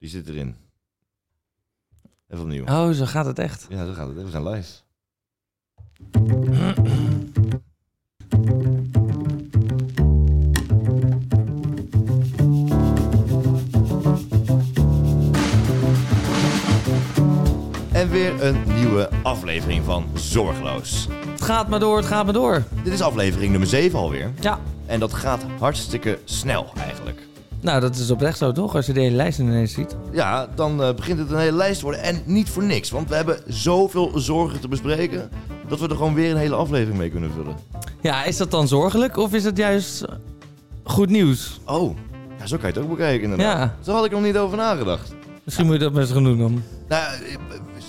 zit erin. Even opnieuw. Oh, zo gaat het echt. Ja, zo gaat het. We zijn live. En weer een nieuwe aflevering van Zorgloos. Het gaat maar door, het gaat maar door. Dit is aflevering nummer 7 alweer. Ja. En dat gaat hartstikke snel eigenlijk. Nou, dat is oprecht zo toch? Als je de hele lijst ineens ziet. Ja, dan eh, begint het een hele lijst te worden. En niet voor niks, want we hebben zoveel zorgen te bespreken... dat we er gewoon weer een hele aflevering mee kunnen vullen. Ja, is dat dan zorgelijk of is dat juist eh, goed nieuws? Oh, ja, zo kan je het ook bekijken inderdaad. Ja. Zo had ik er nog niet over nagedacht. Misschien moet je dat maar eens gaan doen dan. Nou, eh,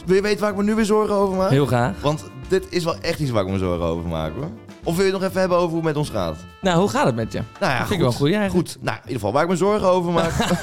wil je weten waar ik me nu weer zorgen over maak? Heel graag. Want dit is wel echt iets waar ik me zorgen over maak hoor. Of wil je het nog even hebben over hoe het met ons gaat? Nou, hoe gaat het met je? Nou ja, Vind ik wel goed, ja, eigenlijk. Goed, nou in ieder geval waar ik me zorgen over maak.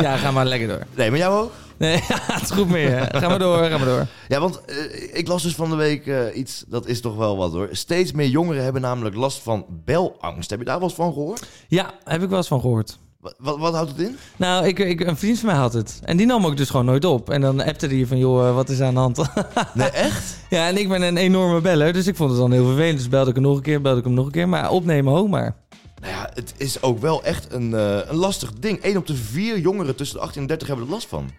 Ja, ga maar lekker door. nee, maar jou ook? Nee, het is goed mee. hè. Ga maar door, ga maar door. Ja, want eh, ik las dus van de week eh, iets, dat is toch wel wat hoor. Steeds meer jongeren hebben namelijk last van belangst. Heb je daar wel eens van gehoord? Ja, heb ik wel eens van gehoord. Wat, wat, wat houdt het in? Nou, ik, ik, een vriend van mij had het. En die nam ook dus gewoon nooit op. En dan appte hij van, joh, eh, wat is er aan de hand? Nee, echt? ja, en ik ben een enorme beller, dus ik vond het dan heel vervelend. Dus belde ik hem nog een keer, belde ik hem nog een keer. Maar opnemen, ho maar. Nou ja, het is ook wel echt een, eh, een lastig ding. 1 op de vier jongeren tussen de 18 en 30 hebben er last van.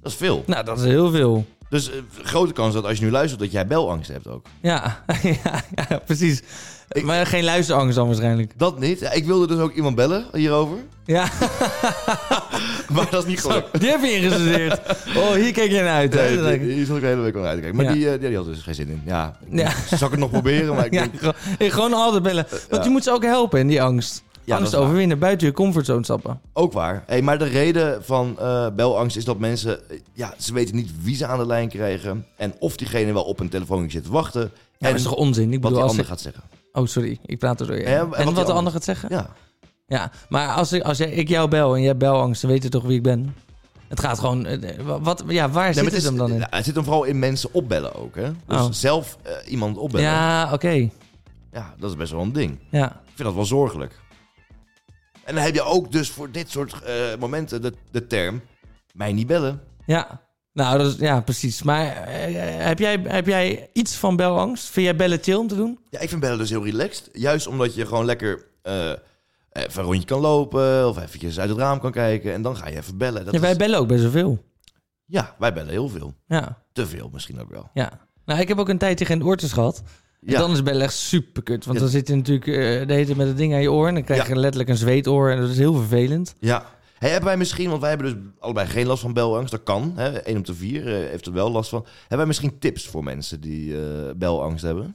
Dat is veel. Nou, dat is heel veel. Dus eh, grote kans dat als je nu luistert dat jij belangst hebt ook. Ja, ja, ja, precies. Ik- Maar geen luisterangst dan waarschijnlijk. Dat niet. Ja, ik wilde dus ook iemand bellen hierover. Ja, Maar dat is niet gelukt. die heb je ingestudeerd. Oh, hier keek je naar uit. hè? Nee, die, die zat ik de hele week al naar uit te kijken. Maar Ja. die, eh, die, die had er dus geen zin in. Ja, ik Ja. zal ik het nog proberen, maar ik ja, denk... gewoon, ik gewoon altijd bellen. Want je moet ze ook helpen in die angst. Ja, dat is angst waar. overwinnen, buiten je comfortzone stappen. Ook waar. Hey, maar de reden van eh, belangst is dat mensen... eh, Ja, ze weten niet wie ze aan de lijn krijgen. En of diegene wel op een telefoon zit te wachten. Ja, en dat is toch onzin? wat Ik die bedoel, als ander ik- gaat zeggen. Oh, sorry. Ik praat er door je. Ja, en wat wat, die de ander- ander gaat zeggen? Ja, Ja. maar als, ik, als jij- ik jou bel en jij hebt belangst, dan weet je toch wie ik ben? Het gaat gewoon... eh, Wat, ja, waar Nee, zit maar het, hem dan in? nou, het zit hem vooral in mensen opbellen ook. Hè? Dus Oh. zelf eh, iemand opbellen. Ja. Ja, oké. dat is best wel een ding. Ja. Ik vind dat wel zorgelijk. En dan heb je ook dus voor dit soort eh, momenten de, de term... Mij niet bellen. Ja, nou, dat is, ja, precies. Maar eh, heb, jij, heb jij iets van belangst? Vind jij bellen chill om te doen? Ja, ik vind bellen dus heel relaxed. Juist omdat je gewoon lekker eh, even een rondje kan lopen... of eventjes uit het raam kan kijken. En dan ga je even bellen. Dat Ja, wij is- bellen ook best wel veel. Ja, wij bellen heel veel. Ja, Te veel misschien ook wel. ja. Nou, ik heb ook een tijdje geen oortjes gehad. En Ja. dan is bellen echt super kut. Want Ja. dan zit je natuurlijk eh, de hele tijd met het ding aan je oor. En dan krijg je letterlijk een zweetoor. En dat is heel vervelend. Ja. Hey, hebben wij misschien, want wij hebben dus allebei geen last van belangst. Dat kan. Hè? 1 op de 4 heeft er wel last van. Hebben wij misschien tips voor mensen die eh, belangst hebben?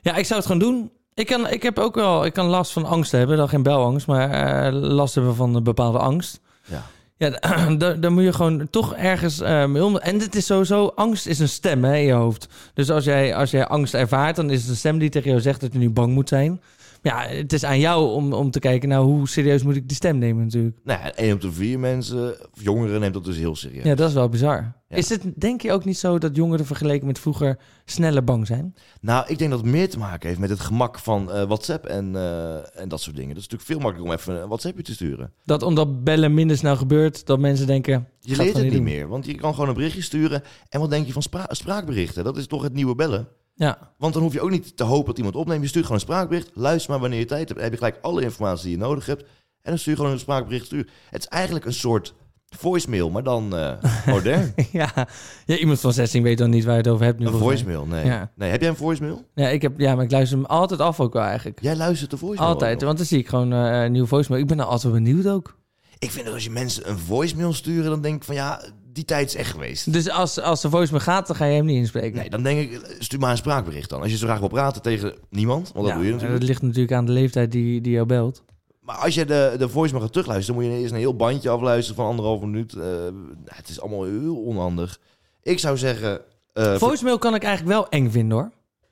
Ja, ik zou het gewoon doen. Ik, kan, ik heb ook wel ik kan last van angst hebben. Dan geen belangst, maar eh, last hebben van een bepaalde angst. Ja. Ja, d- daar daar moet je gewoon toch ergens eh, mee om. En dit is sowieso, angst is een stem hè, in je hoofd. Dus als jij, als jij angst ervaart, dan is het een stem die tegen jou zegt dat je nu bang moet zijn. Maar Ja, het is aan jou om, om te kijken, nou, hoe serieus moet ik die stem nemen natuurlijk. Nou ja, 1 op de 4 mensen, of jongeren, neemt dat dus heel serieus. Ja, dat is wel bizar. Ja. Is het, denk je ook niet zo dat jongeren vergeleken met vroeger sneller bang zijn? Nou, ik denk dat het meer te maken heeft met het gemak van eh, WhatsApp en, eh, en dat soort dingen. Dat is natuurlijk veel makkelijker om even een WhatsAppje te sturen. Dat omdat bellen minder snel gebeurt, dat mensen denken... Je "Ga leert het gewoon niet doen." meer, want je kan gewoon een berichtje sturen. En wat denk je van spra- spraakberichten? Dat is toch het nieuwe bellen? Ja, Want dan hoef je ook niet te hopen dat iemand opneemt. Je stuurt gewoon een spraakbericht. Luister maar wanneer je tijd hebt. Dan heb je gelijk alle informatie die je nodig hebt. En dan stuur je gewoon een spraakbericht. Stuur. Het is eigenlijk een soort voicemail, maar dan eh, modern. ja. ja, iemand van 16 weet dan niet waar je het over hebt. Nu een volgens mij. voicemail, nee. Ja. nee. Heb jij een voicemail? Ja, ik heb, ja, maar ik luister hem altijd af ook wel eigenlijk. Jij luistert de voicemail. ook Altijd, nog. want dan zie ik gewoon eh, een nieuwe voicemail. Ik ben er altijd benieuwd ook. Ik vind dat als je mensen een voicemail sturen, dan denk ik van ja, die tijd is echt geweest. Dus als, als de voicemail gaat, dan ga je hem niet inspreken. Nee, dan denk ik, eh, stuur maar een spraakbericht dan. Als je zo graag wil praten tegen niemand, want dat Ja, doe je en natuurlijk. Eh, dat ligt natuurlijk aan de leeftijd die, die jou belt. Maar als je de, de voicemail gaat terugluisteren, dan moet je eerst een heel bandje afluisteren van anderhalf minuut. Eh, nou, het is allemaal heel onhandig. Ik zou zeggen, eh, voicemail kan ik eigenlijk wel eng vinden hoor.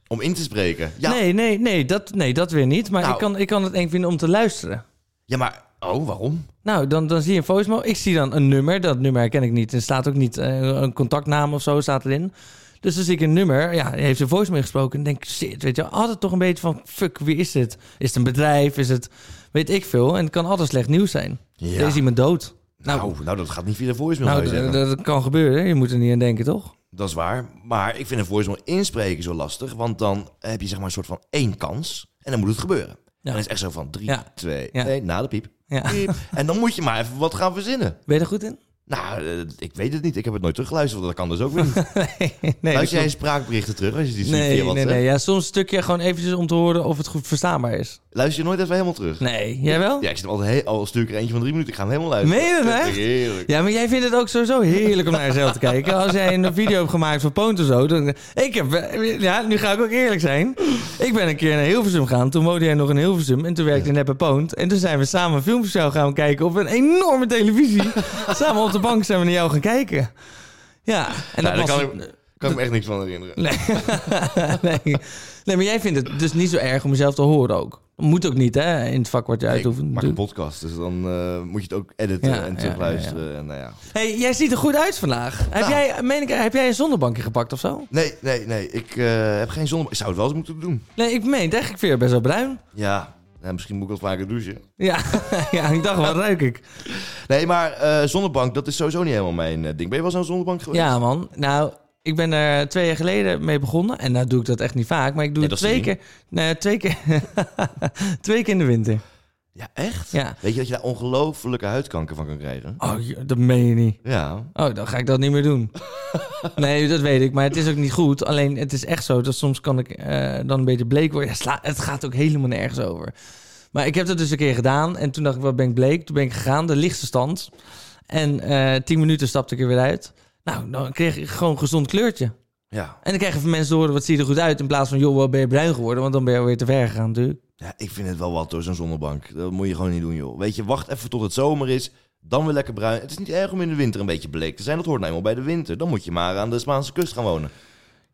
om in te spreken. Ja, Nee, nee, nee, dat, nee, dat weer niet. Maar Nou. ik, kan, ik kan het eng vinden om te luisteren. ja maar, oh, waarom? Nou, dan, dan zie je een voicemail. Ik zie dan een nummer. Dat nummer herken ik niet. Er staat ook niet eh, een contactnaam of zo staat erin. Dus dan zie ik een nummer. Ja, hij heeft een voicemail gesproken. En denk ik, shit, weet je. Altijd toch een beetje van, fuck, wie is dit? Is het een bedrijf? Is het, weet ik veel. En het kan altijd slecht nieuws zijn. Ja. Er is iemand dood. Nou, nou, dat gaat niet via de voicemail. Nou, zou je d- zeggen. d- dat kan gebeuren. Je moet er niet aan denken, toch? Dat is waar. Maar ik vind een voicemail inspreken zo lastig. Want dan heb je zeg maar een soort van één kans. En dan moet het gebeuren. En dan is het echt zo van drie, Ja. twee, Ja. nee, na de piep. Ja. piep. En dan moet je maar even wat gaan verzinnen. Ben je er goed in? Nou, eh, ik weet het niet. Ik heb het nooit teruggeluisterd, want dat kan dus ook weer niet. nee, dat Luister jij klopt. spraakberichten terug als je die ziet nee, via nee, WhatsApp? nee. Ja, soms een stukje gewoon eventjes om te horen of het goed verstaanbaar is. Luister je nooit even helemaal terug? Nee, jij wel? Ja, ik zit hem altijd heel, al stuur ik er eentje van drie minuten. Ik ga hem helemaal luisteren. Meen je dat Dat echt? vind ik Heerlijk. Ja, maar jij vindt het ook sowieso heerlijk om naar jezelf te kijken. Als jij een video hebt gemaakt van Poont of zo. Dan, ik heb, eh, ja, nu ga ik ook eerlijk zijn. Ik ben een keer naar Hilversum gegaan. Toen woonde jij nog in Hilversum. En toen werkte ik net bij Poont. En toen zijn we samen een filmshow gaan kijken op een enorme televisie. samen op de bank zijn we naar jou gaan kijken. Ja, en Nou, dat daar was... kan, ik, kan ik me echt niks van herinneren. Nee. nee. Nee, maar jij vindt het dus niet zo erg om jezelf te horen ook. Moet ook niet, hè, in het vak wat je Nee, uitoefent. ik maak een natuurlijk. podcast, dus dan eh, moet je het ook editen Ja, en ja, terugluisteren. En, nou ja. hey, jij ziet er goed uit vandaag. Heb, Nou. jij, meen ik, heb jij een zonnebankje gepakt of zo? Nee, nee, nee. Ik eh, heb geen zonne. Ik zou het wel eens moeten doen. Nee, ik meen het echt. Ik vind je best wel bruin. Ja, nou, misschien moet ik wat vaker douchen. Ja, ja ik dacht, wat ruik ik? Nee, maar eh, zonnebank, dat is sowieso niet helemaal mijn eh, ding. Ben je wel zo'n zonnebank geweest? Ja, man. Nou, ik ben er twee jaar geleden mee begonnen. En nou doe ik dat echt niet vaak. Maar ik doe Nee, het dat is twee keer, nee, twee, keer twee keer in de winter. Ja, echt? Ja. Weet je dat je daar ongelofelijke huidkanker van kan krijgen? Oh, je- dat meen je niet. Ja. Oh, dan ga ik dat niet meer doen. Nee, dat weet ik. Maar het is ook niet goed. Alleen, het is echt zo dat soms kan ik eh, dan een beetje bleek worden. Ja, sla- het gaat ook helemaal nergens over. Maar ik heb dat dus een keer gedaan. En toen dacht ik, wat ben ik bleek? Toen ben ik gegaan, de lichtste stand. En eh tien minuten stapte ik er weer uit. Nou, dan kreeg ik gewoon een gezond kleurtje. Ja. En dan krijgen van mensen te horen, wat zie je er goed uit? In plaats van, joh, wat ben je bruin geworden? Want dan ben je weer te ver gegaan natuurlijk. ja, ik vind het wel wat door zo'n zonnebank. Dat moet je gewoon niet doen, joh. Weet je, wacht even tot het zomer is. Dan weer lekker bruin. Het is niet erg om in de winter een beetje bleek te zijn. Dat hoort nou eenmaal bij de winter. Dan moet je maar aan de Spaanse kust gaan wonen.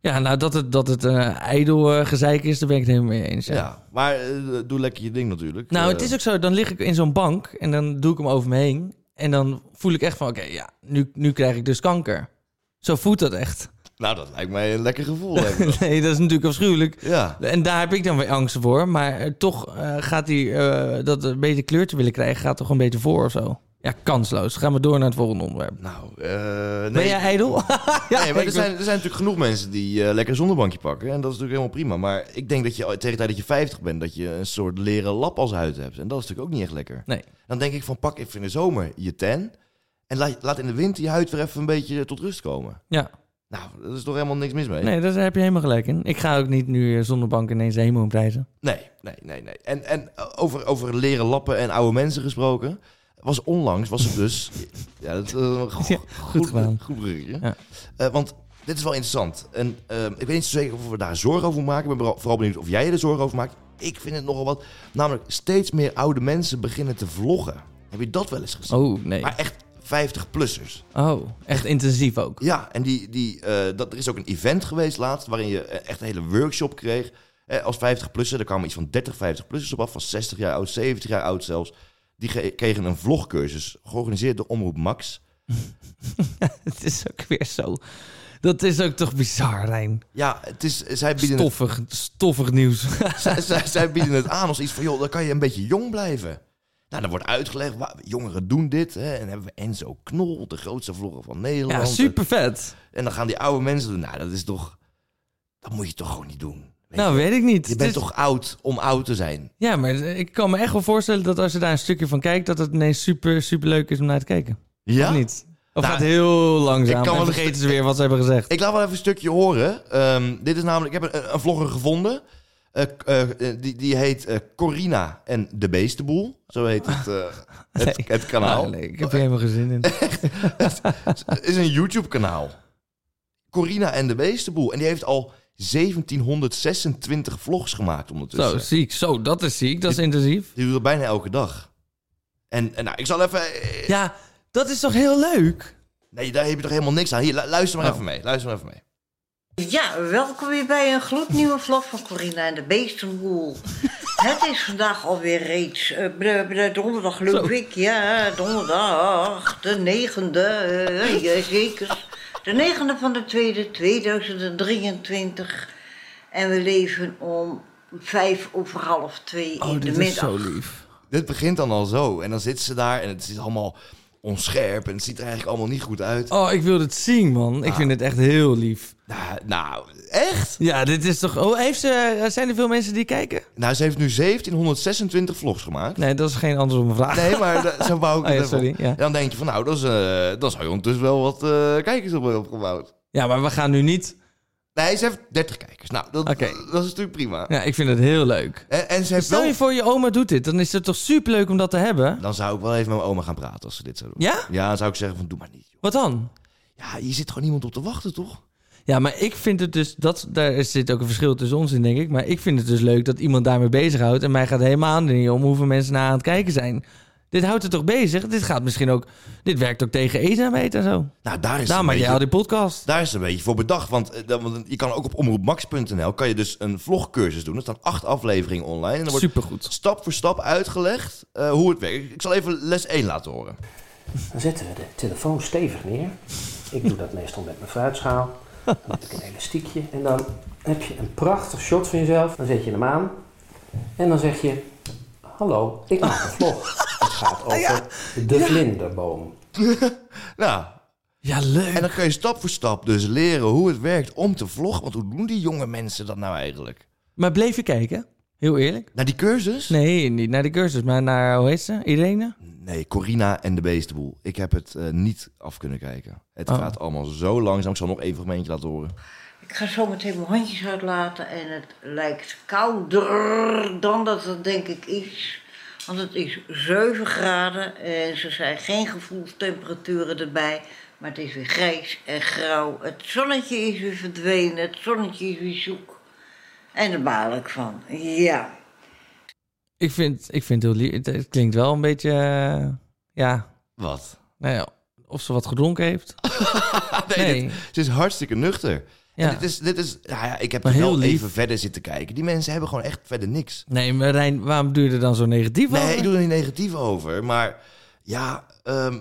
Ja, nou, dat het, dat het eh ijdel eh, gezeik is, daar ben ik het helemaal mee eens. Ja. ja. Maar eh, doe lekker je ding natuurlijk. Nou, Eh, het is ook zo. Dan lig ik in zo'n bank en dan doe ik hem over me heen. En dan voel ik echt van, oké, ja, nu, nu krijg ik dus kanker. Zo voelt dat echt. Nou, dat lijkt mij een lekker gevoel. hè. nee, dat is natuurlijk afschuwelijk. ja. En daar heb ik dan weer angsten voor. Maar eh, toch eh, gaat die, eh, dat een beetje kleur te willen krijgen, gaat toch een beetje voor of zo. Ja, kansloos. Gaan we door naar het volgende onderwerp. Nou, eh nee. Ben jij ijdel? ja, nee, maar er ik zijn, er zijn natuurlijk genoeg mensen die eh, lekker een zonnebankje pakken. En dat is natuurlijk helemaal prima. Maar ik denk dat je oh, tegen de tijd dat je 50 bent, dat je een soort leren lap als huid hebt. En dat is natuurlijk ook niet echt lekker. Nee. Dan denk ik van pak even in de zomer je tan. En laat, laat in de winter je huid weer even een beetje tot rust komen. Ja, Nou, daar is toch helemaal niks mis mee? nee, daar heb je helemaal gelijk in. Ik ga ook niet nu eh, zonder bank ineens de hemel prijzen. Nee, nee, nee. nee. En, en eh, over, over leren lappen en oude mensen gesproken. Was onlangs was het dus. ja, dat, eh, go- Ja, goed gedaan. Goed bruggetje. Ja. Eh, want dit is wel interessant. En eh, ik weet niet zo zeker of we daar zorgen over maken. Ik ben vooral- vooral benieuwd of jij je er zorgen over maakt. Ik vind het nogal wat. Namelijk, steeds meer oude mensen beginnen te vloggen. Heb je dat wel eens gezien? Oh, nee. Maar echt 50-plussers. Oh, echt intensief ook. Ja, en die, die, eh, dat, er is ook een event geweest laatst waarin je eh, echt een hele workshop kreeg. Eh, als 50-plusser, daar kwamen iets van 30, 50-plussers op af, van 60 jaar oud, 70 jaar oud zelfs. Die ge- kregen een vlogcursus, georganiseerd door Omroep Max. Het is ook weer zo. Dat is ook toch bizar, Rijn. Ja, het is, zij, bieden het, Stoffig, stoffig nieuws. zij, zij- zij bieden het aan als iets van, joh, dan kan je een beetje jong blijven. Nou, dan wordt uitgelegd, wa- jongeren doen dit. Hè, en dan hebben we Enzo Knol, de grootste vlogger van Nederland. Ja, super vet. En dan gaan die oude mensen doen, nou, dat is toch... Dat moet je toch gewoon niet doen. Weet Nou, weet ik niet. Je Het bent is- toch oud om oud te zijn? Ja, maar ik kan me echt wel voorstellen dat als je daar een stukje van kijkt, dat het ineens super, super leuk is om naar te kijken. Ja? Of niet? Of Nou, gaat het heel langzaam. ik kan en wel een vergeten stu- ze weer wat ze hebben gezegd. Ik laat wel even een stukje horen. Ehm, dit is namelijk, ik heb een, een vlogger gevonden. Eh, k- eh, eh, die, die heet eh, Corina en de Beestenboel. Zo heet het, eh, het, Nee. het kanaal. Nou, nee, ik heb hier helemaal geen zin in. Het is een YouTube kanaal. Corina en de Beestenboel. En die heeft al 1726 vlogs gemaakt Zo, ondertussen. ziek. Zo, dat is ziek. Dat is intensief. Die doet dat bijna elke dag. En, en nou, ik zal even... eh, Ja, dat is toch heel leuk? Nee, daar heb je toch helemaal niks aan. Hier, lu- luister maar Oh. even mee. Luister maar even mee. Ja, welkom weer bij een gloednieuwe vlog van Corina en de Beestenboel. Het is vandaag alweer reeds eh, bre- bre- donderdag, Zo. geloof ik. Ja, donderdag, de negende, eh, ja, zeker. De negende van de tweede, 2023. En we leven om vijf over Oh, Oh, half twee in de Oh, middag. lief. Dit begint dan al zo. En dan zit ze daar en het is allemaal onscherp en het ziet er eigenlijk allemaal niet goed uit. Oh, ik wil dit zien, man. Ah. Ik vind het echt heel lief. Nou, nou, echt? Ja, dit is toch... Oh, heeft ze... Zijn er veel mensen die kijken? Nou, ze heeft nu 1726 vlogs gemaakt. Nee, dat is geen antwoord op mijn vraag. Nee, maar da- zo bouw ik Oh ja, het even op. sorry, ja. En Dan denk je van, nou, dat is, eh, dan zou je ondertussen wel wat eh, kijkers op opgebouwd. Ja, maar we gaan nu niet... Nee, ze heeft 30 kijkers. Nou, dat, Oké. dat is natuurlijk prima. Ja, ik vind het heel leuk. En, en ze heeft Stel wel... je voor, je oma doet dit. Dan is het toch superleuk om dat te hebben? Dan zou ik wel even met mijn oma gaan praten als ze dit zou doen. Ja? Ja, dan zou ik zeggen van, doe maar niet. joh. Wat dan? Ja, hier zit gewoon niemand op te wachten, toch? Ja, maar ik vind het dus... Dat, daar zit ook een verschil tussen ons in, denk ik. Maar ik vind het dus leuk dat iemand daarmee bezighoudt. En mij gaat helemaal niet om hoeveel mensen naar aan het kijken zijn. Dit houdt het toch bezig? Dit gaat misschien ook... Dit werkt ook tegen eenzaamheid en zo. Nou, daar is het Daar een maak jij beetje- al die podcast. Daar is het een beetje voor bedacht. Want eh, dan- want je kan ook op omroepmax.nl kan je dus een vlogcursus doen. Er staan acht afleveringen online. En dan wordt Supergoed. stap voor stap uitgelegd eh, hoe het werkt. Ik zal even les 1 laten horen. Dan zetten we de telefoon stevig neer. Ik doe dat meestal met mijn fruitschaal. Dan heb ik een elastiekje. En dan heb je een prachtig shot van jezelf. Dan zet je hem aan. En dan zeg je... Hallo, ik maak een vlog. Het gaat over de vlinderboom. Nou, Ja, leuk. en dan kun je stap voor stap dus leren hoe het werkt om te vloggen. Want hoe doen die jonge mensen dat nou eigenlijk? Maar bleef je kijken? Heel eerlijk? Naar die cursus? Nee, niet naar de cursus, maar naar, hoe heet ze? Irene? Nee, Corina en de Beestenboel. Ik heb het eh, niet af kunnen kijken. Het Oh. gaat allemaal zo langzaam. Ik zal nog één fragmentje laten horen. Ik ga zo meteen mijn handjes uitlaten en het lijkt kouder dan dat het denk ik is. Want het is 7 graden en ze zijn geen gevoelstemperaturen erbij. Maar het is weer grijs en grauw. Het zonnetje is weer verdwenen, het zonnetje is weer zoek. En daar baal ik van. Ja. Ik vind, ik vind het heel lief. Het, het klinkt wel een beetje, eh, ja, Wat? nou ja, of ze wat gedronken heeft. nee, Nee. dit- ze is hartstikke nuchter. Ja. En dit is, dit is, nou ja, ik heb Maar er wel heel lief. even verder zitten kijken. Die mensen hebben gewoon echt verder niks. Nee, maar Rijn, waarom duurde dan zo negatief over? Nee, ik doe er niet negatief over. Maar ja, ehm,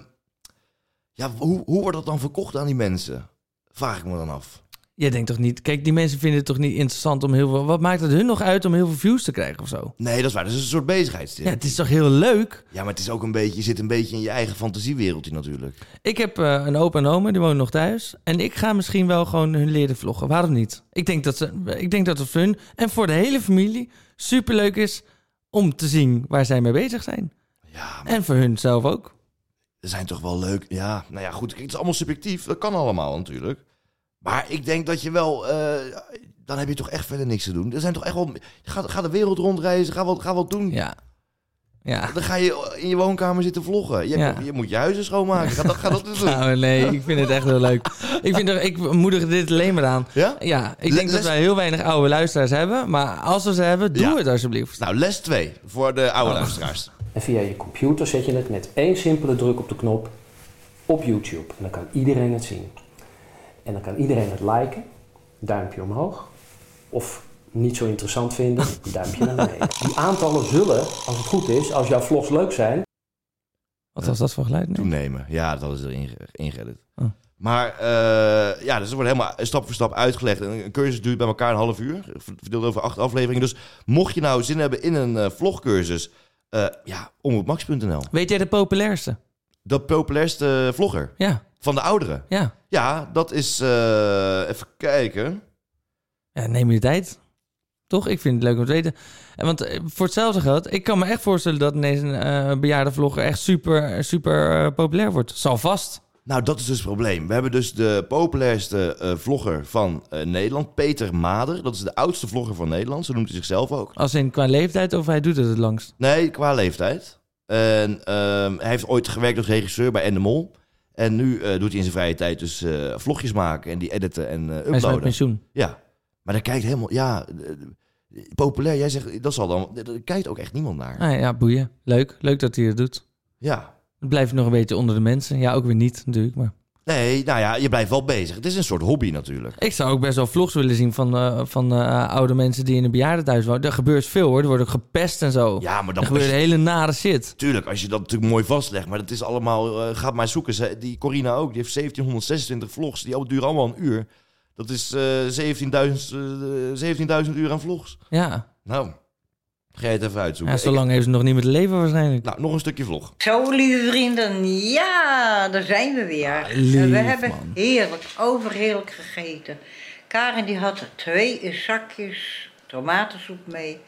ja hoe, hoe wordt dat dan verkocht aan die mensen? Vraag ik me dan af. Jij denkt toch niet, kijk, die mensen vinden het toch niet interessant om heel veel, wat maakt het hun nog uit om heel veel views te krijgen of zo? Nee, dat is waar. Dat is een soort bezigheidstip. Ja, Ja, het is toch heel leuk? maar het is ook een beetje, je zit een beetje in je eigen fantasiewereldje natuurlijk. Ik heb eh, een opa en oma, die wonen nog thuis. En ik ga misschien wel gewoon hun leren vloggen. Waarom niet? Ik denk dat, ze, ik denk dat het voor hun en voor de hele familie superleuk is om te zien waar zij mee bezig zijn. Ja, maar En voor hun zelf ook. er zijn toch wel leuk. Ja, nou ja, goed. kijk, Het is allemaal subjectief. Dat kan allemaal natuurlijk. Maar ik denk dat je wel. eh, dan heb je toch echt verder niks te doen. Er zijn toch echt wel. Ga, ga de wereld rondreizen. Ga wat, ga wat doen. Ja. Ja. Dan ga je in je woonkamer zitten vloggen. Je, hebt- Ja. je moet je huizen schoonmaken. Ga dat, ga dat dus doen. Nou, nee, ik vind het echt heel leuk. Ik, vind er, ik moedig dit alleen maar aan. Ja? Ja, ik Le- denk dat les- wij heel weinig oude luisteraars hebben. Maar als we ze hebben, doe Ja. het alsjeblieft. Nou, les 2 voor de oude luisteraars. En via je computer zet je het met één simpele druk op de knop op YouTube. En dan kan iedereen het zien. En dan kan iedereen het liken. Duimpje omhoog. Of niet zo interessant vinden. Duimpje naar beneden. Die aantallen zullen, als het goed is, als jouw vlogs leuk zijn, Wat was dat voor geluid? Nee. Toenemen. Ja, dat is erin ge- ingeëdit. Oh. Maar eh, ja, dus het wordt helemaal stap voor stap uitgelegd. En Een cursus duurt bij elkaar een half uur. Verdeeld over acht afleveringen. Dus mocht je nou zin hebben in een eh, vlogcursus, eh ja, omroepmax.nl. Weet jij de populairste? De populairste vlogger Ja, van de ouderen. ja. Ja, dat is. eh, even kijken. Ja, neem je tijd. Toch? Ik vind het leuk om te weten. En Want eh, voor hetzelfde geld, ik kan me echt voorstellen dat ineens een eh bejaarde vlogger echt super, super eh, populair wordt. Zal vast. Nou, dat is dus het probleem. We hebben dus de populairste eh, vlogger van eh, Nederland, Peter Mader. Dat is de oudste vlogger van Nederland, zo noemt hij zichzelf ook. Als in qua leeftijd of hij doet het het langst. Nee, qua leeftijd. En ehm, hij heeft ooit gewerkt als regisseur bij Endemol. En nu eh, doet hij in zijn vrije tijd dus eh, vlogjes maken en die editen en eh, Hij is met uploaden. pensioen. Ja, maar daar kijkt helemaal... Ja, eh, eh, populair. Jij zegt, dat zal dan... Daar kijkt ook echt niemand naar. Ah, ja, boeien. Leuk. Leuk dat hij het doet. Ja. Het blijft nog een beetje onder de mensen. Ja, ook weer niet natuurlijk. Maar Nee, nou ja, je blijft wel bezig. Het is een soort hobby natuurlijk. ik zou ook best wel vlogs willen zien van, eh, van eh, oude mensen die in een bejaardentehuis wonen. Er gebeurt veel hoor. Er wordt ook gepest en zo. Ja, maar er dan... gebeurt hele nare shit. Tuurlijk, als je dat natuurlijk mooi vastlegt. Maar dat is allemaal... eh, gaat maar zoeken. Ze- Die Corina ook. Die heeft 1726 vlogs. Die duren allemaal een uur. Dat is eh 17.000 eh, 17.000 uur aan vlogs. Ja. Nou, Ga je het even uitzoeken. Ja, zo lang heeft ze nog niet met leven waarschijnlijk. Ik- nou, nog een stukje vlog. Zo, lieve vrienden, ja, daar zijn we weer. Ah, lief, En we hebben man. heerlijk, overheerlijk gegeten. Karin die had twee zakjes tomatensoep mee.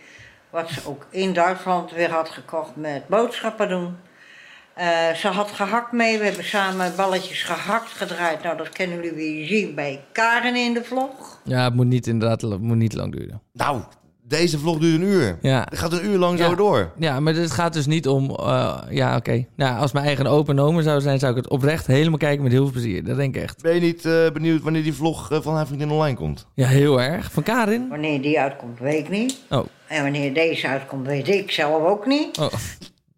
Wat ze ook in Duitsland weer had gekocht met boodschappen doen. Eh, ze had gehakt mee, we hebben samen balletjes gehakt gedraaid. Nou, dat kennen jullie weer zien bij Karin in de vlog. Ja, het moet niet inderdaad het moet niet lang duren. Nou, deze vlog duurt een uur. Ja. Het gaat een uur lang Ja. zo door. Ja, maar het gaat dus niet om... eh, ja, oké. Nou, als mijn eigen open omen zou zijn, zou ik het oprecht helemaal kijken met heel veel plezier. Dat denk ik echt. Ben je niet eh, benieuwd wanneer die vlog eh, van haar vriendin online komt? Ja, heel erg. Van Karin? Wanneer die uitkomt, weet ik niet. Oh, En wanneer deze uitkomt, weet ik zelf ook niet. oh.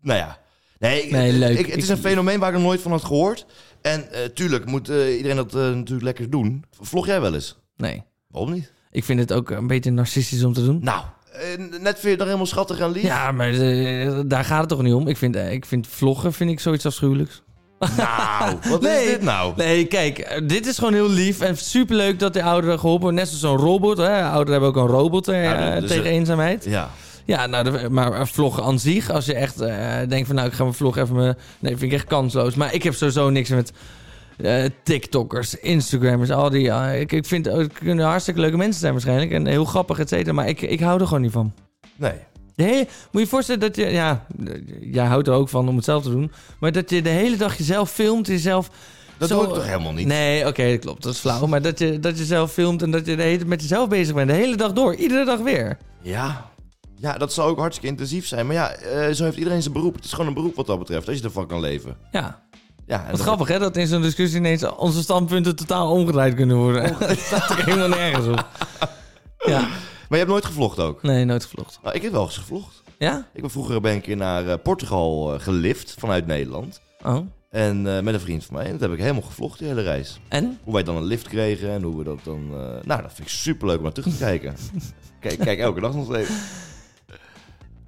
Nou ja. Nee, ik- Nee, ik- leuk. ik- het is Ik- een fenomeen waar ik nog nooit van had gehoord. En eh, tuurlijk moet eh, iedereen dat eh, natuurlijk lekker doen. Vlog jij wel eens? Nee. Waarom niet? Ik vind het ook een beetje narcistisch om te doen. Nou, eh, net vind je dat helemaal schattig en lief. Ja, maar eh, daar gaat het toch niet om? Ik vind, eh, ik vind vloggen vind ik zoiets afschuwelijks. Nou, wat Nee. is dit nou? Nee, kijk, eh, dit is gewoon heel lief en superleuk dat de ouderen geholpen worden. Net zoals zo'n robot. Hè. Ouderen hebben ook een robot eh, Ja, dat- eh, dus, tegen eh, eenzaamheid. Ja. Ja, nou, de- maar vloggen aan zich, als je echt eh, denkt van nou, ik ga mijn vlog even... Me... Nee, vind ik echt kansloos. Maar ik heb sowieso niks met eh, TikTokkers, Instagrammers, al die... eh, ik, ik vind, ook- het kunnen hartstikke leuke mensen zijn waarschijnlijk en heel grappig, et cetera. Maar ik, ik hou er gewoon niet van. Nee. De hele- moet je je voorstellen dat je... Ja, eh, jij houdt er ook van om het zelf te doen. Maar dat je de hele dag jezelf filmt, jezelf... Dat zo- doe ik toch helemaal niet? Nee, oké, dat klopt. Dat is flauw. Maar dat je, dat je zelf filmt en dat je de hele tijd met jezelf bezig bent. De hele dag door. Iedere dag weer. Ja. Ja, dat zou ook hartstikke intensief zijn. Maar ja, eh, zo heeft iedereen zijn beroep. Het is gewoon een beroep wat dat betreft, als je ervan kan leven. Ja. Ja, en Wat dat- grappig, hè? Dat in zo'n discussie ineens onze standpunten totaal omgedraaid kunnen worden. dat staat toch helemaal nergens op. Ja. Maar je hebt nooit gevlogd ook? Nee, nooit gevlogd. Nou, ik heb wel eens gevlogd. Ja? Ik ben vroeger ben ik een keer naar eh, Portugal eh, gelift vanuit Nederland. Oh. En eh, met een vriend van mij. En dat heb ik helemaal gevlogd, die hele reis. En? Hoe wij dan een lift kregen en hoe we dat dan... eh, Nou, dat vind ik superleuk om naar terug te kijken. kijk, kijk elke dag nog steeds.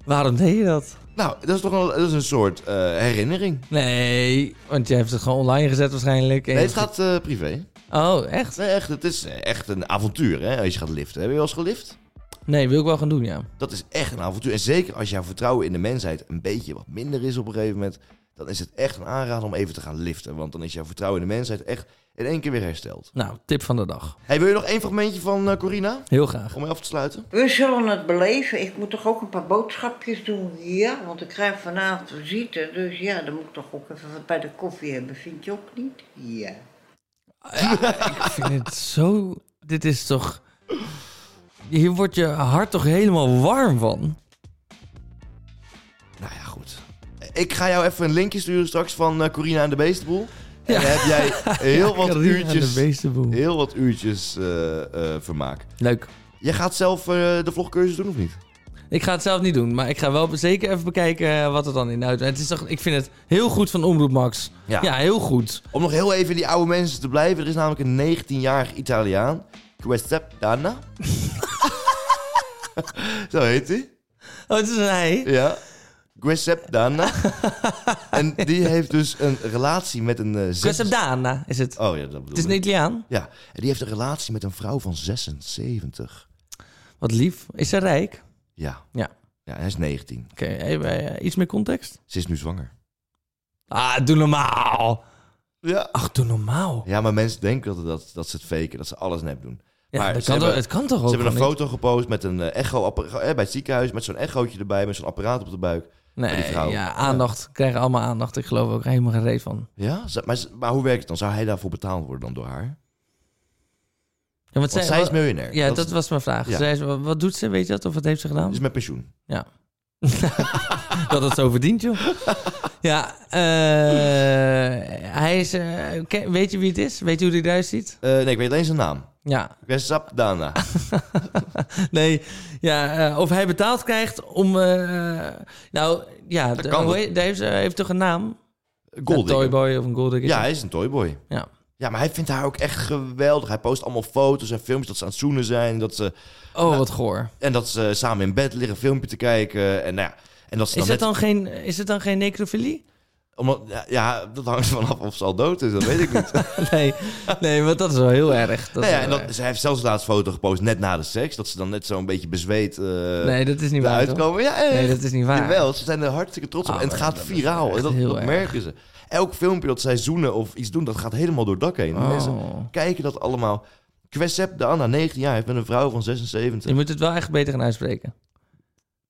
Waarom deed je dat? Nou, dat is toch een, dat is een soort eh, herinnering. Nee, want je hebt het gewoon online gezet waarschijnlijk. En Nee, je het gaat eh, privé. hebt- Oh, echt? Nee, echt, het is eh, echt een avontuur, hè, als je gaat liften. Heb je wel eens gelift? Nee, wil ik wel gaan doen, ja. Dat is echt een avontuur. En zeker als jouw vertrouwen in de mensheid een beetje wat minder is op een gegeven moment... dan is het echt een aanrader om even te gaan liften. Want dan is jouw vertrouwen in de mensheid echt in één keer weer hersteld. Nou, tip van de dag. Hey, wil je nog één fragmentje van eh, Corina? Heel graag. Om mee af te sluiten? We zullen het beleven. Ik moet toch ook een paar boodschapjes doen? Ja, want ik krijg vanavond visite. Dus ja, dan moet ik toch ook even wat bij de koffie hebben. Vind je ook niet? Ja. Ik vind het zo... Dit is toch... Hier wordt je hart toch helemaal warm van? Nou ja, goed. Ik ga jou even een linkje sturen straks van eh, Corina en de Beestenboel. En Ja. dan heb jij heel wat Carina en De uurtjes, beestenboel. heel wat uurtjes eh, eh, vermaak. Leuk. Jij gaat zelf eh, de vlogcursus doen of niet? Ik ga het zelf niet doen, maar ik ga wel zeker even bekijken eh, wat er dan in uit. Het is toch, ik vind het heel goed van Omroep Max. Ja, heel goed. Om nog heel even in die oude mensen te blijven. Er is namelijk een 19-jarig Italiaan. Questepdana. Zo heet hij. Oh, het is een hij. Ja. Giuseppe Dana. en die heeft dus een relatie met een... eh, zes- Questadana is het. Oh ja, dat bedoel Het is ik. een Italiaan. Ja, en die heeft een relatie met een vrouw van 76. Wat lief. Is ze rijk? Ja. Ja. Ja, hij is 19. Oké, even, eh, iets meer context. Ze is nu zwanger. Ah, doe normaal. Ja. Ach, doe normaal. Ja, maar mensen denken dat, dat, dat ze het faken, dat ze alles nep doen. Ja, Maar dat ze kan toch, hebben- het kan toch ook Ze hebben een gewoon foto gepost met een eh, echo appara- eh, bij het ziekenhuis, met zo'n echootje erbij, met zo'n apparaat op de buik. niet? van die vrouw. Nee, ja, aandacht. Krijgen allemaal aandacht. Ik geloof ook helemaal geen reet van. Ja, Ze- maar, ze- maar hoe werkt het dan? Zou hij daarvoor betaald worden dan door haar? Ja, want Want zij is miljonair. Ja, dat, dat is- was mijn vraag. Ja. Zij is- wat wat doet ze, weet je dat? Of wat heeft ze gedaan? is met pensioen. Ja. dat het zo verdient, joh. ja, eh, hij is... eh, ken- weet je wie het is? Weet je hoe hij eruit ziet? Eh, nee, ik weet alleen zijn naam. Ja, Giuseppe Dana. nee. Ja, eh, of hij betaald krijgt om... eh, nou, ja, de- kan hoe wel. heet- hij heeft, eh, heeft toch een naam? Een Goldie. toyboy of een golden Ja, hij is een toyboy. ja. Ja, maar hij vindt haar ook echt geweldig. Hij post allemaal foto's en filmpjes dat ze aan het zoenen zijn. Dat ze, Oh, wat goor. en dat ze samen in bed liggen een filmpje te kijken. En, nou ja, en dat ze Is dan het dan, geen, is het dan geen necrofilie? Omdat, ja, ja, dat hangt er vanaf of ze al dood is, dat weet ik niet. Nee, nee, want dat is wel heel erg. Dat nou is ja, wel en erg. dat, ze heeft zelfs laatst foto gepost, net na de seks. Dat ze dan net zo'n beetje bezweet eh nee, dat is niet waar. eruit toch? komen. Ja, echt. Nee, dat is niet waar. Jawel, ze zijn er hartstikke trots op. Oh, en het gaat dat is viraal. echt En dat, heel dat erg. merken ze. Elk filmpje dat zij zoenen of iets doen, dat gaat helemaal door het dak heen. Oh. Mensen kijken dat allemaal. Questep de Anna, 19 jaar, heeft met een vrouw van 76. Je moet het wel echt beter gaan uitspreken.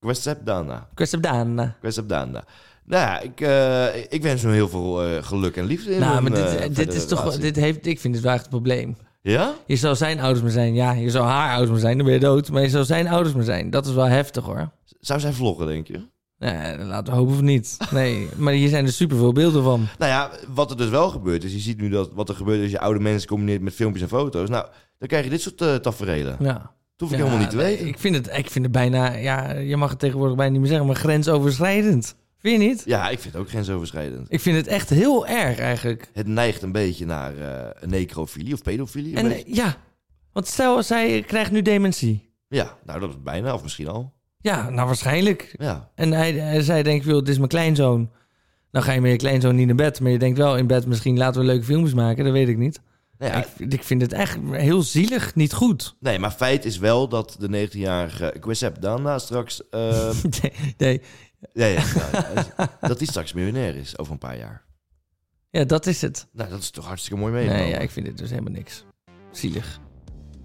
Questep de Anna. Kwestie Dana. Questep de Anna. Nou ja, ik, eh, ik wens hun heel veel eh, geluk en liefde in Nou, hun, maar eh, dit, dit verdere is toch... relatie. Dit heeft, ik vind het wel echt een probleem. Ja? Je zou zijn ouders maar zijn. Ja, je zou haar ouders maar zijn. Dan ben je dood. Maar je zou zijn ouders maar zijn. Dat is wel heftig, hoor. Zou zij vloggen, denk je? Nee, laten we hopen of niet. Nee, maar hier zijn er superveel beelden van. Nou ja, wat er dus wel gebeurt is, je ziet nu dat wat er gebeurt als je oude mensen combineert met filmpjes en foto's. Nou, dan krijg je dit soort eh taferelen. Dat Ja. hoef ik Ja, helemaal niet te nee, weten. Ik vind, het, ik vind het bijna... Ja, je mag het tegenwoordig bijna niet meer zeggen, maar grensoverschrijdend. Vind je niet? Ja, ik vind het ook grensoverschrijdend. Ik vind het echt heel erg, eigenlijk. Het neigt een beetje naar eh, necrofilie of pedofilie. een En beetje. eh, ja, want stel, zij krijgt nu dementie. Ja, nou dat is bijna, of misschien al. Ja, nou waarschijnlijk. Ja, En hij, hij- eh, zij denkt, joh, dit is mijn kleinzoon. Dan ga je met je kleinzoon niet naar bed. Maar je denkt wel in bed, misschien laten we leuke filmpjes maken. Dat weet ik niet. Nou ja, Ik, vind- ik vind het echt heel zielig, niet goed. Nee, maar feit is wel dat de 19-jarige Quisep Dana straks... eh, Nee, nee. nee, ja, nou ja, dat die straks miljonair is over een paar jaar. Ja, dat is het. Nou, dat is toch hartstikke mooi meegenomen. Nee, ja, ik vind het dus helemaal niks. Zielig.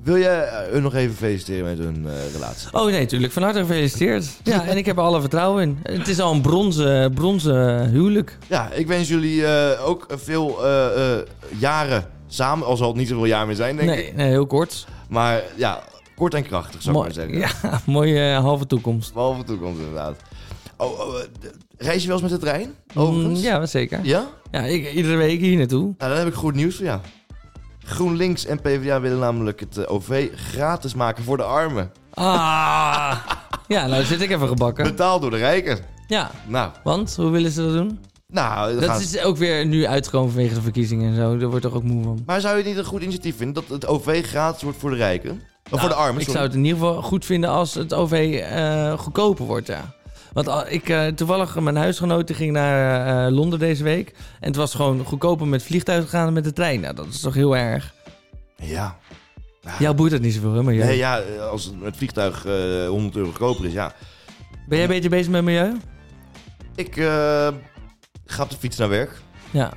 Wil je eh, hun nog even feliciteren met hun eh, relatie? Oh nee, natuurlijk. Van harte gefeliciteerd. Ja, en ik heb er alle vertrouwen in. Het is al een bronzen, bronzen huwelijk. Ja, ik wens jullie eh, ook veel eh, eh, jaren samen. Al zal het niet zoveel jaar meer zijn, denk ik. Nee, nee, heel kort. Maar ja, kort en krachtig, zou ik maar zeggen. ja, mooie eh, halve toekomst. Behalve toekomst, inderdaad. Oh, oh, eh, d- reis je wel eens met de trein? Overigens? Mm, Ja, zeker. Ja? Ja, ik, iedere week hier naartoe. Nou, dan heb ik goed nieuws voor jou. GroenLinks en PvdA willen namelijk het eh, OV gratis maken voor de armen. Ah. Ja, nou zit ik even gebakken. Betaald door de rijken. Ja, Nou, want hoe willen ze dat doen? nou dan Dat gaan ze- is ook weer nu uitgekomen vanwege de verkiezingen en zo. Daar wordt toch ook moe van. Maar zou je het niet een goed initiatief vinden dat het OV gratis wordt voor de rijken? Of voor de Nou, armen, Ik sorry. zou het in ieder geval goed vinden als het OV eh, goedkoper wordt, ja. Want al- ik, eh, toevallig, mijn huisgenoot die ging naar eh, Londen deze week. En het was gewoon goedkoper met vliegtuig gaan dan met de trein. Nou, dat is toch heel erg. Ja. Jou boeit dat niet zoveel, hè, milieu? Nee, ja, eh, als het vliegtuig eh, 100 euro goedkoper is, ja. Ben jij een beetje bezig met milieu? Ik eh, ga op de fiets naar werk. Ja. Ja.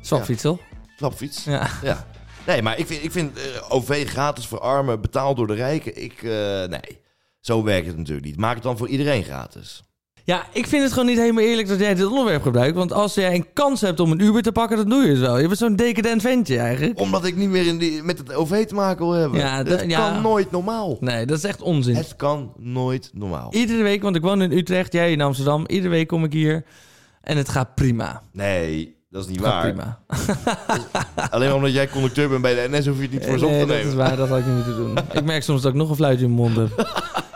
Zwapfietsel. Klapfiets. Ja. Ja. Nee, maar ik vind, ik vind eh, OV gratis voor armen, betaald door de rijken. Ik, eh, nee, zo werkt het natuurlijk niet. Maak het dan voor iedereen gratis. ja, ik vind het gewoon niet helemaal eerlijk dat jij dit onderwerp gebruikt. Want als jij een kans hebt om een Uber te pakken, dan doe je het wel. Je bent zo'n decadent ventje eigenlijk. Omdat ik niet meer in die, met het OV te maken wil hebben. Ja, dat d- ja. kan nooit normaal. Nee, dat is echt onzin. Het kan nooit normaal. Iedere week, want ik woon in Utrecht, jij in Amsterdam. Iedere week kom ik hier en het gaat prima. Nee, dat is niet Het gaat waar. prima. Alleen omdat jij conducteur bent bij de NS hoef je het niet voor ons op Nee, te dat is nemen. waar, dat had ik niet moeten doen. ik merk soms dat ik nog een fluitje in mijn mond heb.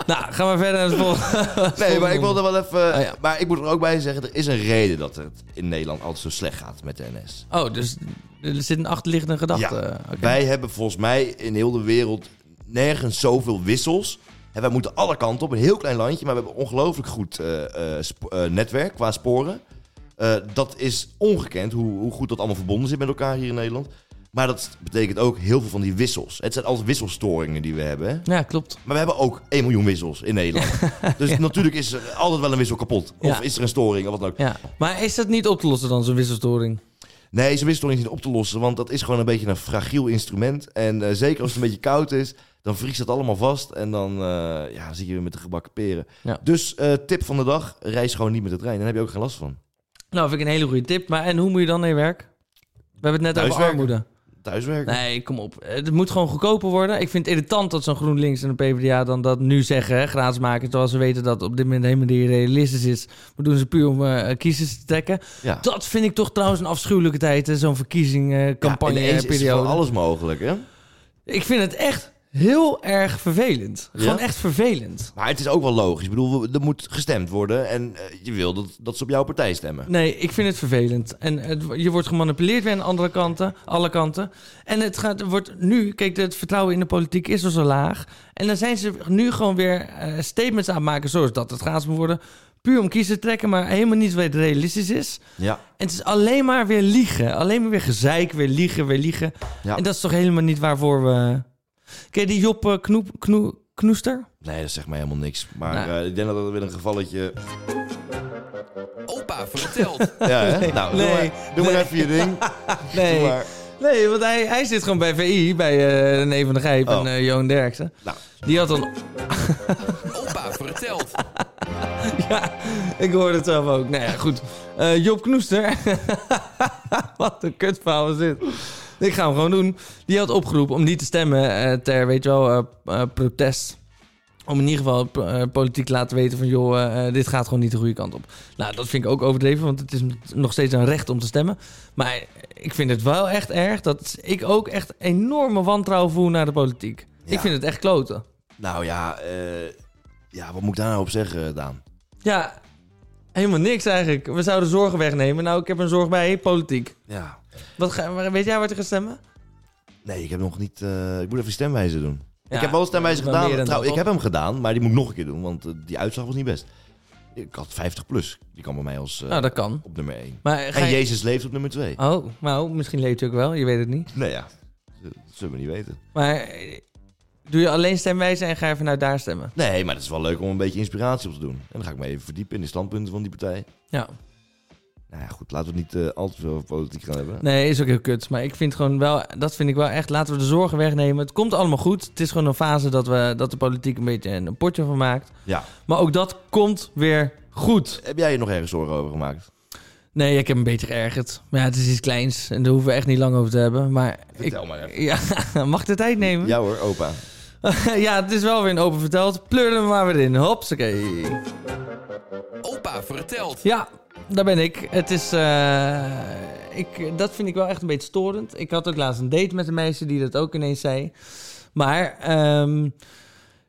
nou, gaan we verder naar het volgende. Nee, maar ik wilde wel even... Ah, ja. Maar ik moet er ook bij zeggen, er is een reden dat het in Nederland altijd zo slecht gaat met de NS. Oh, dus er zit een achterliggende gedachte. Ja, eh, Oké. Wij hebben volgens mij in heel de wereld nergens zoveel wissels. En wij moeten alle kanten op, een heel klein landje, maar we hebben een ongelooflijk goed eh, eh, sp- eh, netwerk qua sporen. Eh, dat is ongekend hoe, hoe goed dat allemaal verbonden zit met elkaar hier in Nederland. Maar dat betekent ook heel veel van die wissels. Het zijn altijd wisselstoringen die we hebben. Hè? Ja, klopt. Maar we hebben ook 1 miljoen wissels in Nederland. Dus natuurlijk is er altijd wel een wissel kapot. Of Ja. is er een storing of wat dan ook. Ja. Maar is dat niet op te lossen dan, zo'n wisselstoring? Nee, zo'n wisselstoring is niet op te lossen, want dat is gewoon een beetje een fragiel instrument. En eh, zeker als het een beetje koud is, dan vriest dat allemaal vast en dan eh, ja, dan zit je weer met de gebakken peren. Ja. Dus eh, tip van de dag, reis gewoon niet met de trein. Dan heb je ook geen last van. Nou, vind ik een hele goede tip. Maar en hoe moet je dan in je werk? We hebben het net over Thuiswerken. armoede. Thuiswerken. Nee, kom op. Het moet gewoon goedkoper worden. Ik vind het irritant dat zo'n GroenLinks en de PvdA dan dat nu zeggen, hè, gratis maken. Terwijl ze weten dat op dit moment helemaal niet realistisch is. Maar doen ze puur om eh, kiezers te trekken. Ja. Dat vind ik toch trouwens een afschuwelijke tijd, hè, zo'n Ja, ineens is er verkiezingscampagneperiode. van alles mogelijk, hè? ik vind het echt heel erg vervelend. Ja? Gewoon echt vervelend. Maar het is ook wel logisch. Ik bedoel, er moet gestemd worden en eh, je wil dat, dat ze op jouw partij stemmen. Nee, ik vind het vervelend. En het, je wordt gemanipuleerd weer aan andere kanten, alle kanten. En het gaat, wordt nu, kijk, het vertrouwen in de politiek is al zo laag. En dan zijn ze nu gewoon weer eh, statements aan het maken, zoals dat het gaat moet worden. puur om kiezen te trekken, maar helemaal niet wat realistisch is. Ja. En het is alleen maar weer liegen. Alleen maar weer gezeik, weer liegen, weer liegen. Ja. En dat is toch helemaal niet waarvoor we... Ken je die Job eh, Knoep, Knoe- Knoester? Nee, dat zegt mij helemaal niks. Maar Nou. eh, ik denk dat dat weer een gevalletje... Opa vertelt. Ja, hè? nou, doe, nee, maar, doe maar nee. even je ding. Nee, Doe maar. nee want hij, hij zit gewoon bij VI, bij eh René van der Gijp en Oh. eh, Johan Derksen. Nou. Die had dan... Opa vertelt. Ja, ik hoorde het zelf ook. Nou ja, goed. Eh, Job Knoester. Wat een kutverhaal is dit. Ik ga hem gewoon doen. Die had opgeroepen om niet te stemmen eh, ter, weet je wel, eh, eh, protest. Om in ieder geval p- eh, politiek te laten weten van... joh, eh, eh, dit gaat gewoon niet de goede kant op. Nou, dat vind ik ook overdreven, want het is nog steeds een recht om te stemmen. Maar ik vind het wel echt erg dat ik ook echt enorme wantrouwen voel naar de politiek. Ja. Ik vind het echt kloten. Nou ja, eh, ja, wat moet ik daar nou op zeggen, Daan? Ja, helemaal niks eigenlijk. We zouden zorgen wegnemen. Nou, ik heb een zorg bij politiek. Ja. Wat ga, waar- weet jij wat er gaat stemmen? Nee, ik heb nog niet... eh, ik moet even stemwijzer doen. Ja, ik heb wel een stemwijzer wel gedaan. meer dan Trouw, dat, ik heb hem gedaan, maar die moet ik nog een keer doen. Want eh, die uitslag was niet best. Ik had 50 plus. Die kwam bij mij als eh, Nou, dat kan. op nummer 1. Maar ga En je- Jezus leeft op nummer 2. Oh, nou, misschien leeft hij ook wel. Je weet het niet. Nou ja, dat zullen we niet weten. Maar eh, doe je alleen stemwijzen en ga je vanuit daar stemmen? Nee, maar het is wel leuk om een beetje inspiratie op te doen. En dan ga ik me even verdiepen in de standpunten van die partij. Ja. Nou ja, goed, laten we het niet eh, al te veel over politiek gaan hebben. Nee, is ook heel kut. Maar ik vind gewoon wel... Dat vind ik wel echt... Laten we de zorgen wegnemen. Het komt allemaal goed. Het is gewoon een fase dat, we, dat de politiek een beetje een potje van maakt. Ja. Maar ook dat komt weer goed. Heb jij je nog ergens zorgen over gemaakt? Nee, ik heb me een beetje geërgerd. Maar ja, het is iets kleins. En daar hoeven we echt niet lang over te hebben. Maar Vertel maar even. Ja, mag de tijd nemen? Ja. Ja hoor, opa. het is wel weer een open verteld. Pleur er maar weer in. Hopsakee. Opa vertelt. Ja, daar ben ik. Het is... eh, ik, dat vind ik wel echt een beetje storend. Ik had ook laatst een date met een meisje die dat ook ineens zei. Maar... ehm,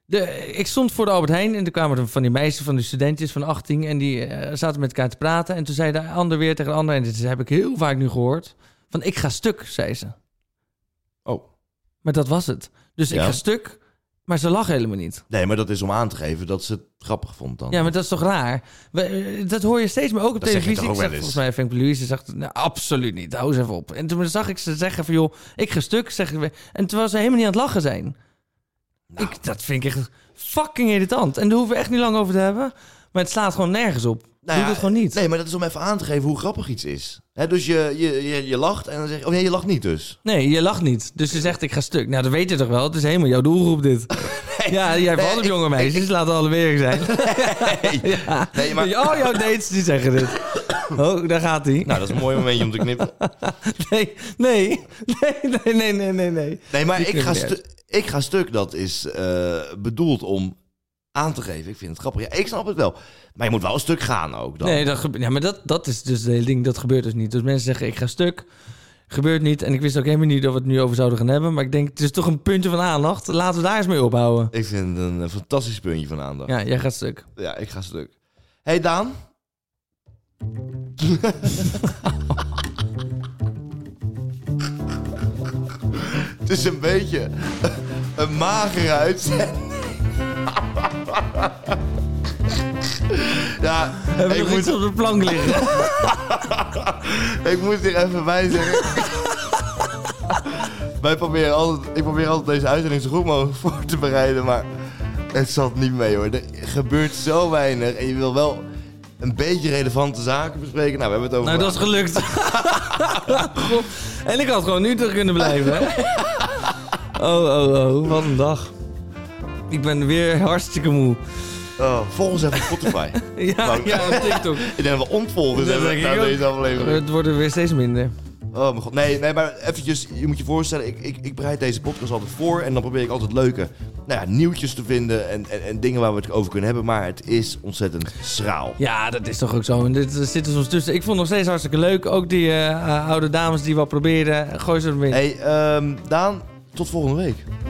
de, ik stond voor de Albert Heijn en toen kwamen er van die meisjes, van die studentjes van 18... en die eh, zaten met elkaar te praten. En toen zei de ander weer tegen de ander... en dit heb ik heel vaak nu gehoord... van ik ga stuk, zei ze. Oh. Maar dat was het. Dus ik Ja. ga stuk, maar ze lachen helemaal niet. Nee, maar dat is om aan te geven dat ze het grappig vond dan. Ja, maar dat is toch raar? We- eh, dat hoor je steeds meer ook op Dat zeg je televisie. toch ook Ik wel zag, eens? volgens mij, Frank Louise zegt, nou, absoluut niet, hou eens even op. En toen zag ik ze zeggen van, joh, ik ga stuk. Zeg, ik weer- en terwijl ze helemaal niet aan het lachen zijn. Nou. Ik, dat vind ik echt fucking irritant. En daar hoeven we echt niet lang over te hebben. Maar het slaat gewoon nergens op. Nou Doe ja, dat gewoon niet. Nee, maar dat is om even aan te geven hoe grappig iets is. Hè, dus je, je, je, je lacht en dan zeg je... Oh nee, je lacht niet dus. Nee, je lacht niet. Dus je zegt, ik ga stuk. Nou, dat weet je toch wel? Het is helemaal jouw doelgroep dit. ja, jij valt op ik- jonge meisjes. laten alle weer zijn. ja. Nee, maar- Al jouw dates, die zeggen dit. Oh, daar gaat hij. Nou, dat is een mooi momentje om te knippen. Nee, nee, nee, nee, nee, nee, nee, nee. Nee, maar Die ik ga, knippen we stu- ik ga stuk, dat is eh, bedoeld om aan te geven. Ik vind het grappig. Ja, ik snap het wel. Maar je moet wel een stuk gaan ook dan. Nee, dat gebe- ja, maar dat, dat is dus het hele ding. Dat gebeurt dus niet. Dus mensen zeggen, ik ga stuk. Gebeurt niet. En ik wist ook helemaal niet dat we het nu over zouden gaan hebben. Maar ik denk, het is toch een puntje van aandacht. Laten we daar eens mee ophouden. Ik vind het een eh, fantastisch puntje van aandacht. Ja, Ja, jij gaat stuk. ik ga stuk. hey, Daan. het is een beetje een magere uitzending. ja, Hebben we ik nog moet iets op de plank liggen? Ik moest er even bij zeggen. Wij proberen altijd, ik probeer altijd deze uitzending zo goed mogelijk voor te bereiden, maar het zat niet mee hoor. Er gebeurt zo weinig en je wil wel een beetje relevante zaken bespreken. Nou, we hebben het over. nou, dat is gelukt. God. En ik had gewoon nu terug kunnen blijven. hè? Oh, oh, oh. Wat een dag. Ik ben weer hartstikke moe. Oh, volg ons even op Spotify. Ja, Dank. ja op TikTok. ik denk dat we ontvolgen Dat hebben denk na ik ook. deze aflevering. Het wordt er weer steeds minder. Oh mijn god, nee, nee, maar eventjes, je moet je voorstellen, ik, ik, ik bereid deze podcast altijd voor en dan probeer ik altijd leuke nou ja, nieuwtjes te vinden en, en, en dingen waar we het over kunnen hebben, maar het is ontzettend schraal. Ja, dat is toch ook zo. En dit er zitten soms tussen. Ik vond het nog steeds hartstikke leuk. Ook die eh, eh, oude dames die wat probeerden. Gooi ze erin. Hey, ehm, Daan, tot volgende week.